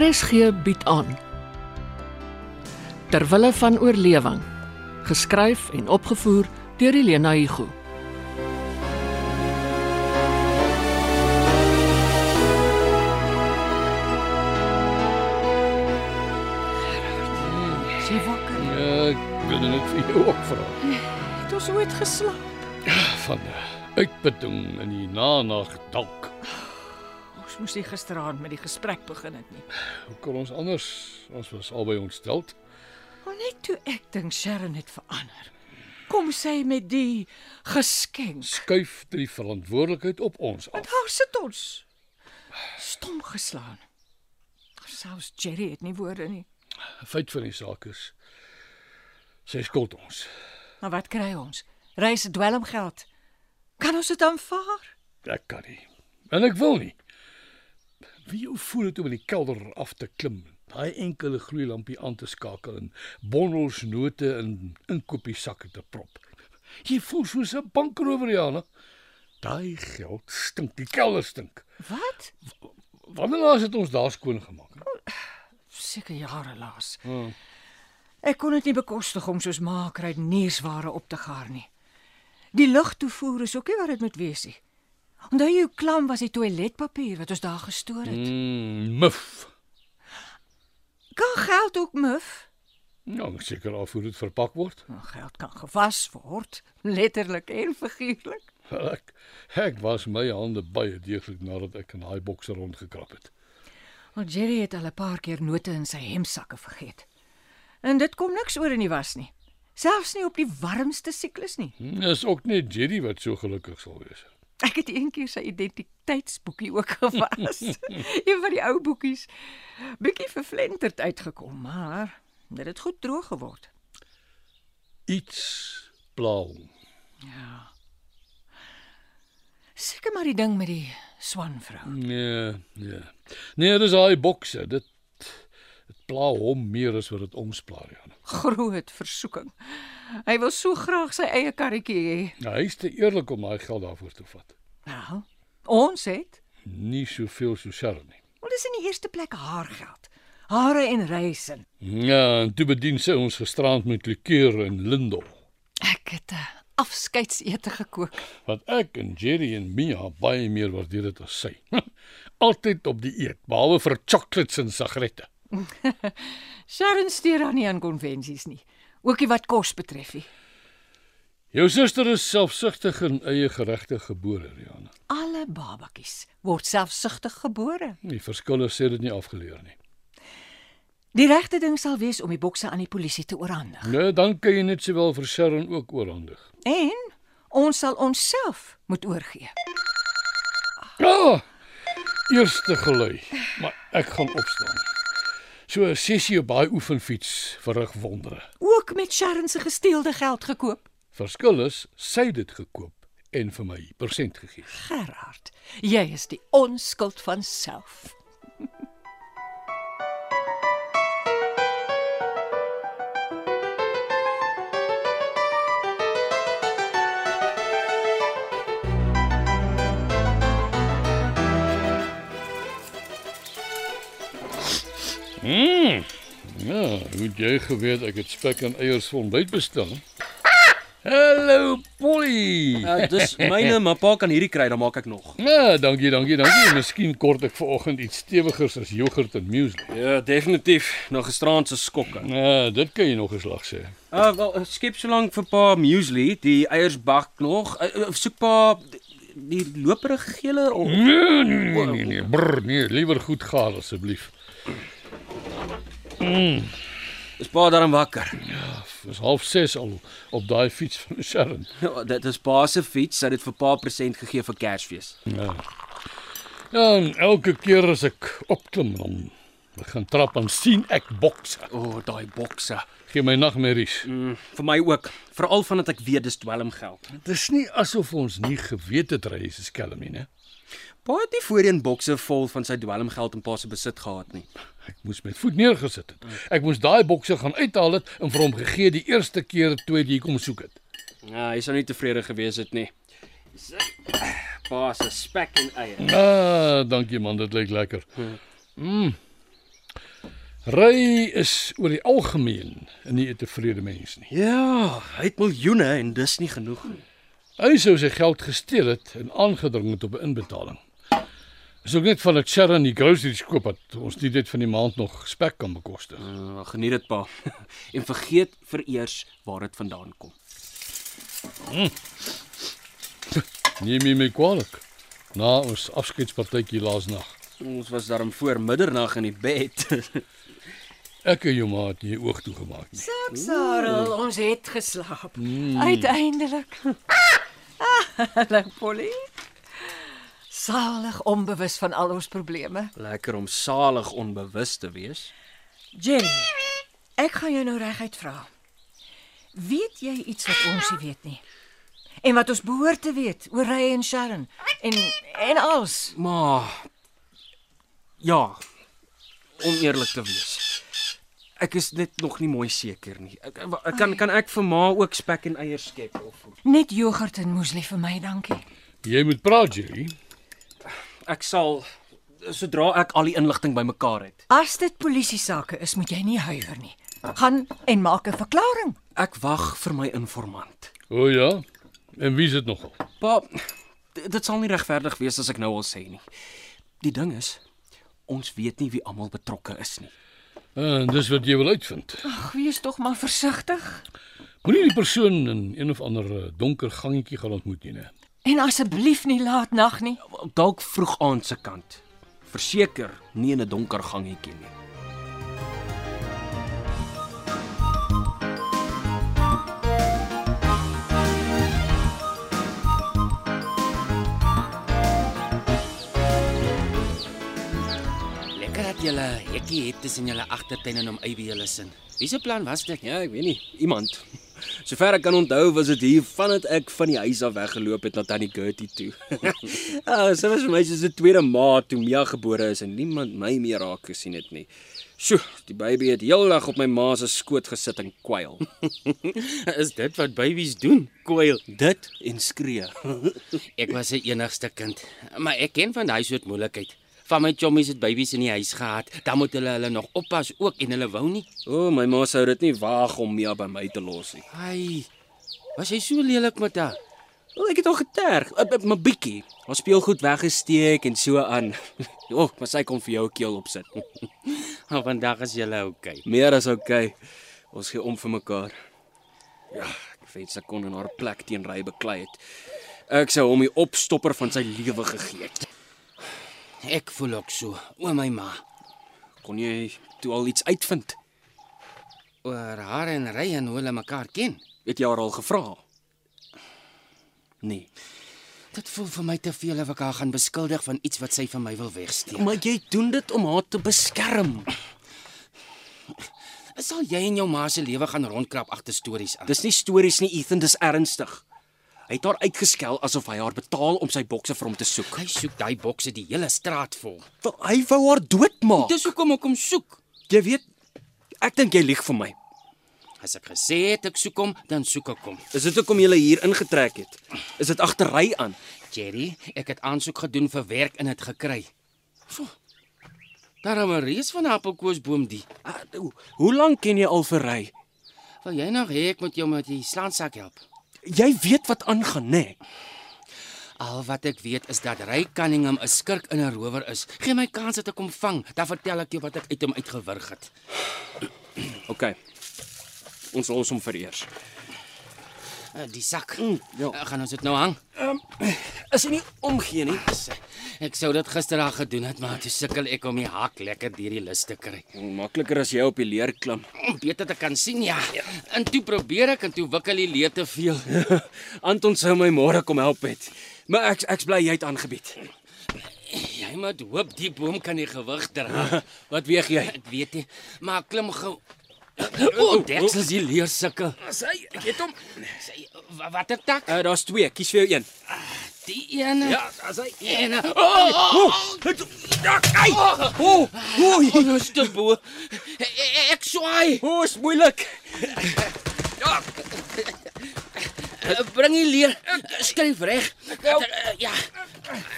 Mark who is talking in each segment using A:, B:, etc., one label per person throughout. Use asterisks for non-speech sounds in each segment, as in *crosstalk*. A: RSG bied aan Terwille van oorlewing geskryf en opgevoer deur Elena Igu
B: Jy wakker.
C: Ja, ek wil dit vir jou *laughs* ook vra.
B: Het ons ooit geslaap?
C: Van eh, uitputting in die nanag dalk.
B: Ons moes nie gisteraand met die gesprek begin het nie.
C: Hoe kon ons anders? Ons was albei ontsteld.
B: Maar net toe ek dink Sharon het verander. Kom sy met die geskenk.
C: Skuif die verantwoordelikheid op ons
B: Want
C: af.
B: daar sit ons. Stom geslaan. Selfs Jerry het nie woorde nie.
C: Feit van die saak is sy skuld ons.
B: Maar wat kry ons? Reis dwelmgeld. Kan ons dit aanvaar?
C: Ek kan nie. En ek wil nie. Wie jou voel dit om in die kelder af te klim? Daai enkele gloeilampie aan te skakel en bondels note in inkopiesakke te prop. Jy voel soos 'n bankrower, Jana. Daai geld stink, die kelder stink.
B: Wat?
C: Wanneer laas het ons daar skoon gemaak?
B: Seker jare laas.
C: Hmm.
B: Ek kon dit nie bekostig om soos maak ruideniersware op te gaar nie. Die lugtoevoer is ook nie wat dit moet wees nie. Onthou jou klam was die toiletpapier wat ons daar gestoor het.
C: Mm, muf.
B: Mm. Kan geld ook muf?
C: Ja, ek is seker af hoe dit verpak word.
B: Nou, Geld kan gewas word, letterlik en figuurlik.
C: Ek ek was my hande baie deeglik nadat ek in daai bokse rondgekrap het.
B: Want Jerry het al 'n paar keer note in sy hemsakke vergeet. En dit kom niks oor in die was nie. Selfs nie op die warmste siklus nie.
C: Dis ook net Jerry wat so gelukkig sal wees.
B: Ek het eendag sy identiteitsboekie ook *laughs* gewas. een van die ou boekies. Bietjie vervlenterd uitgekom, maar dit het goed droog geword.
C: Iets pla hom.
B: Seker maar die ding met die swanvrou.
C: Nee, nee. Nee, dis daai bokse. Dit dit pla hom meer as wat dit ja. ons pla, Jan.
B: Groot versoeking. Hy wil so graag sy eie karretjie hê.
C: Nou, hy's te eerlik om daai geld daarvoor te vat.
B: Nou, ons het
C: Nie soveel so Sharon nie.
B: Want dis in die eerste plek haar geld. Hare en reise.
C: Ja, en toe bedien sy ons gisterand met likeur en lindel.
B: Ek het 'n afskeidsete gekook. *laughs*
C: Wat ek en Jerry en Mia baie meer waardeer dit as sy. *laughs* Altyd op die eet, behalwe vir chocolates en sigarette.
B: Sharon steur aan nie aan konvensies nie, ook nie wat kos betref nie.
C: Jou suster is selfsugtig en eie geregtig gebore, Rihanna.
B: Alle babatjies word selfsugtig gebore.
C: Die verskille sê dit nie afgeleer nie.
B: Die regte ding sal wees om die bokse aan die polisie te oorhandig.
C: Nee, dan kan jy net sowel vir Sharon ook oorhandig.
B: En ons sal onsself moet oorgee.
C: Ja. Ah, eerste gelui, maar ek gaan opstaan. So 'n sessie op daai oefenfiets verrig wondere.
B: Ook met Sharon se gesteelde geld gekoop.
C: Verskil is sy het dit gekoop en vir my persent gegee.
B: Gerard, jy is die onskuld van self.
C: Mm. Ja, hoe het jy geweet ek het spek en eiers vir ontbyt bestel? Hallo Polly.
D: Uh, *laughs* dis myne, maar pa kan hierdie kry, dan maak ek nog.
C: Ja, dankie, dankie, dankie. Miskien kort ek vanoggend iets stewigers as jogurt en muesli.
D: Ja, definitief, na gisteraand se skokke.
C: Ja, dit kan jy nog 'n slag sê.
D: Uh wel, uh, skep so lank vir pa muesli, die eiers bak nog. Uh, uh, soek pa die, die loperige gele of
C: Nee, nee, nee, nee, brr, nee, liewer goed gaar asseblief.
D: is pa daarom wakker? *laughs*
C: Dis half 6 al op daai fiets van Sharon.
D: Ja, dit is pa se fiets, sy het dit vir pa present gegee vir Kersfees.
C: Ja. Ja, en elke keer as ek opklim dan begin trap en sien ek bokse.
D: O, oh, daai bokse.
C: Gee my nagmerries.
D: Mm, vir my ook, veral vandat ek weet dis dwelmgeld.
C: Dis nie asof ons nie geweet het hy is 'n skelm nie, né?
D: Pa het nie voorheen bokse vol van sy dwelmgeld in pa se besit gehad nie.
C: Ek moes met voet neergesit het. Ek moes daai bokse gaan uithaal het en vir hom gegee die eerste keer toe hy kom soek het.
D: Ja, hy sou nie tevrede gewees het nie. Sy- Pa se spek en eiers.
C: Ah, dankie man, dit lyk lekker. Mm. Ry is oor die algemeen nie 'n tevrede mens nie.
D: Ja, hy het miljoene en dis nie genoeg nie.
C: Hy sou sy geld gesteel het en aangedring het op 'n inbetaling. Is ook net van dat Sharon die groceries koop dat ons nie dit van die maand nog spek kan bekostig.
D: Uh, geniet dit pa. *laughs* en vergeet vereers waar dit vandaan kom.
C: Neem jy my kwaliek? Na ons afskeidspartytjie laas nag.
D: Ons was daarom voor middernag in die bed. *laughs*
C: Ek en jou maat het nie oog toe gemaak nie.
B: Sak Sarel, ons het geslaap. Mm. Uiteindelik. Ah, Hallo Polly. Salig onbewus van al ons probleme.
D: Lekker om salig onbewus te wees.
B: Jenny, ek gaan jou nou reguit vra. Weet jy iets wat ons nie weet nie? En wat ons behoort te weet oor Ray en Sharon en en als.
D: Maar ja, om eerlik te wees. Ek is net nog nie mooi seker nie. Ek, ek kan kan ek vir ma ook spek en eiers skep of
B: Net jogurt en muesli vir my, dankie.
C: Jy moet praat, Jerry.
D: ek sal sodra ek al die inligting bymekaar het.
B: As dit polisie sake is, moet jy nie huiwer nie. Gaan en maak 'n verklaring.
D: Ek wag vir my informant.
C: O ja. En wie is dit nogal?
D: Pa, d- dit sal nie regverdig wees as ek nou al sê nie. Die ding is, ons weet nie wie almal betrokke is nie.
C: En dis wat jy wil uitvind.
B: Ag, wees tog maar versigtig.
C: Moenie die persoon in een of ander eh, donker gangetjie gaan ontmoet nie, né?
B: En asseblief nie laat nag nie.
D: Dalk vroeg aan se kant. Verseker, nie in 'n donker gangetjie nie.
E: Lekker dat julle hekkie het tussen julle agtertuin en om uit by julle sin. Wie se plan was dit?
D: Ja, ek weet nie, iemand. Sover ek kan onthou was dit hier vandat ek van die huis af weggeloop het na Tannie Gertie
E: *laughs*
D: toe. ah, sy was vir my soos 'n tweede ma toe Mia gebore is en niemand my meer raak gesien het nie. Sjoe, die baby het heeldag op my ma se skoot gesit en kwyl.
E: *laughs* Is dit wat babies doen? Kwyl.
D: Dit en skree.
E: Ek was se enigste kind, maar ek ken van daai soort moeilikheid. Van my chommies het babies in die huis gehad. Dan moet hulle hulle nog oppas ook en hulle wou nie.
D: O, oh, my ma sou dit nie waag om Mia by my te los nie.
E: Ai. Was hy so lelik met haar?
D: Wel, ek het al geterg, eh, eh, maar bietjie. Ons speel goed weggesteek en so aan. *laughs* O, oh, maar sy kom vir jou 'n keel opsit.
E: *laughs* Maar vandag is julle okay.
D: Meer as okay. Ons gee om vir mekaar. Ja, ek weet sy kon in haar plek teen ry beklei het. Ek sou hom die opstopper van sy lewe gegee het.
E: Ek voel ook so. O my ma.
D: Kon jy toe al iets uitvind?
E: Oor haar en Ryan hoe hulle mekaar ken.
D: Het jy haar al gevra? Nee.
E: Dit voel vir my te veel of ek haar gaan beskuldig van iets wat sy van my wil wegsteek.
D: Ja, Maar jy doen dit om haar te beskerm.
E: Sal jy en jou ma se lewe gaan rondkrap agter stories aan?
D: Dis nie stories nie, Ethan, dis ernstig. Hy het haar uitgeskel asof hy haar betaal om sy bokse vir hom te soek.
E: Hy soek daai bokse die hele straat vol.
D: Wel, Hy wou haar doodmaak.
E: Ah. Dis hoekom ek hom soek.
D: Jy weet, ek dink jy lieg vir my.
E: As ek gesê het ek soek hom, dan soek ek hom.
D: Is dit hoekom jy hier ingetrek het? Is dit agtery aan?
E: Jerry, ek het aansoek gedoen vir werk en dit gekry. Foh. Daar hang 'n reus van 'n appelkoesboom die.
D: Ah, hoe- Hoe lank ken jy al vir ry?
E: Wil jy nog hê ek moet jou met die slaansak help?
D: Jy weet wat aangaan, nê?
E: Al wat ek weet is dat Ray Cunningham 'n skurk en 'n rower is. Geen my kans dat ek hom vang, dan vertel ek jou wat ek uit hom uitgewurg het.
D: OK. Ons los hom vereers.
E: Eh, Die sak.
D: Mm, ja.
E: Eh, Gaan ons dit nou hang?
D: Is hy nie omgee nie?
E: Ek sou dit gister al gedoen het, maar toe sukkel ek om die hak lekker deur die lys te kry.
D: Makliker as jy op die leer klim. *laughs*
E: Om beter te kan sien, ja. En toe probeer ek en toe wikkel die leed te veel.
D: Anton sou my môre kom help het. Maar ek ek's bly jy het aangebied. *laughs*
E: Jy moet hoop die boom kan die gewig dra.
D: *laughs* Wat weeg jy?
E: Ek weet nie, maar klim gou.
D: *coughs* Oh,
E: O, deksel is die leer sukkel.
D: Sy, ek het hom.
E: Sy wa- wat 'n tak?
D: Uh, Daar's twee. Kies vir jou een.
E: Die een.
D: Ja, as hy.
E: En o, oh,
D: Ai! Ja, O, nou oei.
E: oh, dis te bo. E- Ek swaai.
D: O, is moeilik.
E: Eh, Bring die leer. Skryf reg. Dat- Ja.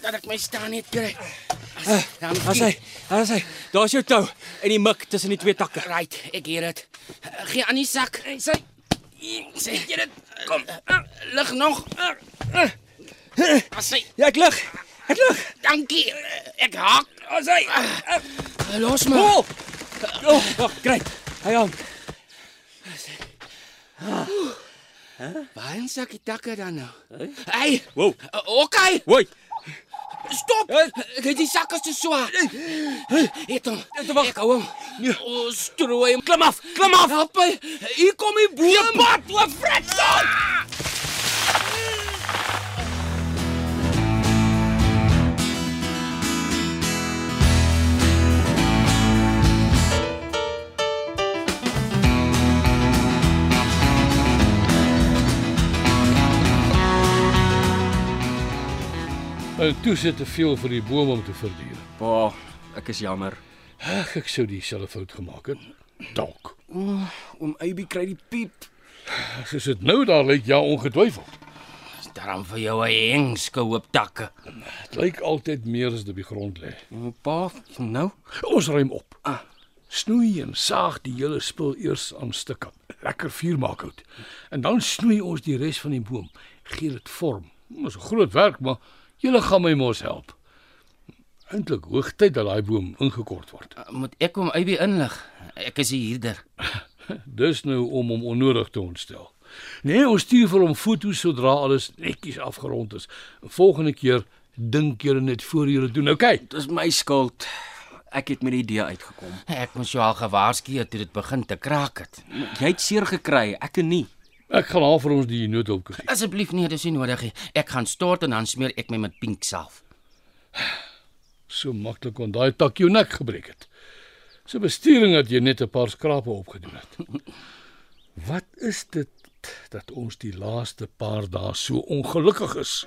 E: Dat ek my staan net kry. Dan
D: Ja, As hy. As hy. Daar's jou tou. in die mik tussen die twee takke.
E: Right, ek het dit. Eh, Gee aan die sak. Sy sê jy dit. Kom. Eh, Lig nog. Sy,
D: Ja, ek lig. Ek lig.
E: dankie. Eh, Ek haak. Sy. Los my.
D: Hol. Oh, wag, great. Hy aan.
E: Waar is sak die takke dan nou? Hey. Wow. Okay.
D: Woi.
E: Stop. Ek het die sakke te swaar. Het hom. Ek hou hom. O, strooi hom. Klim af. Klim af. Help my. Hier kom die boom. Die pad, loop vrek dan.
C: En Nou, toe sit te veel vir die boom om te verduur.
D: Pa, ek is jammer.
C: Ag, ek sou dieselfde fout gemaak het. Dalk.
D: Oom Abby kry die piep.
C: Soos dit nou daar lyk, ja ongetwyfeld.
E: Daarom vir jou 'n hengske hoop takke.
C: Dit lyk altyd meer as dit op die grond lê.
D: O, pa, nou.
C: Ons ruim op. Snoei en saag die hele spul eers aan stukke. Lekker vuur maak hout. En dan snoei ons die res van die boom. Gee dit vorm. Dit is 'n groot werk, maar julle gaan my mos help. Eintlik hoogtyd dat daai boom ingekort word.
E: Moet ek hom Abby inlig? Ek is die huurder.
C: Dis nou om hom onnodig te ontstel. Nee, ons stuur vir hom foto's sodra alles netjies afgerond is. Volgende keer dink julle net voor julle doen. Okay.
D: Dis my skuld. Ek het met die idee uitgekom.
E: Ek moes jou al gewaarsku het toe dit begin te kraak het.
D: Jy het seer gekry, ek en nie.
C: Ek gaan haal vir ons die noodhulp gee.
E: Asseblief nee, dis nie nodig nie. Ek gaan stort en dan smeer ek my met pink salf.
C: So maklik kon daai tak jou nek gebreek het. Se bestuuring het jy net 'n paar skrape opgedoen het. Wat is dit dat ons die laaste paar dae so ongelukkig is?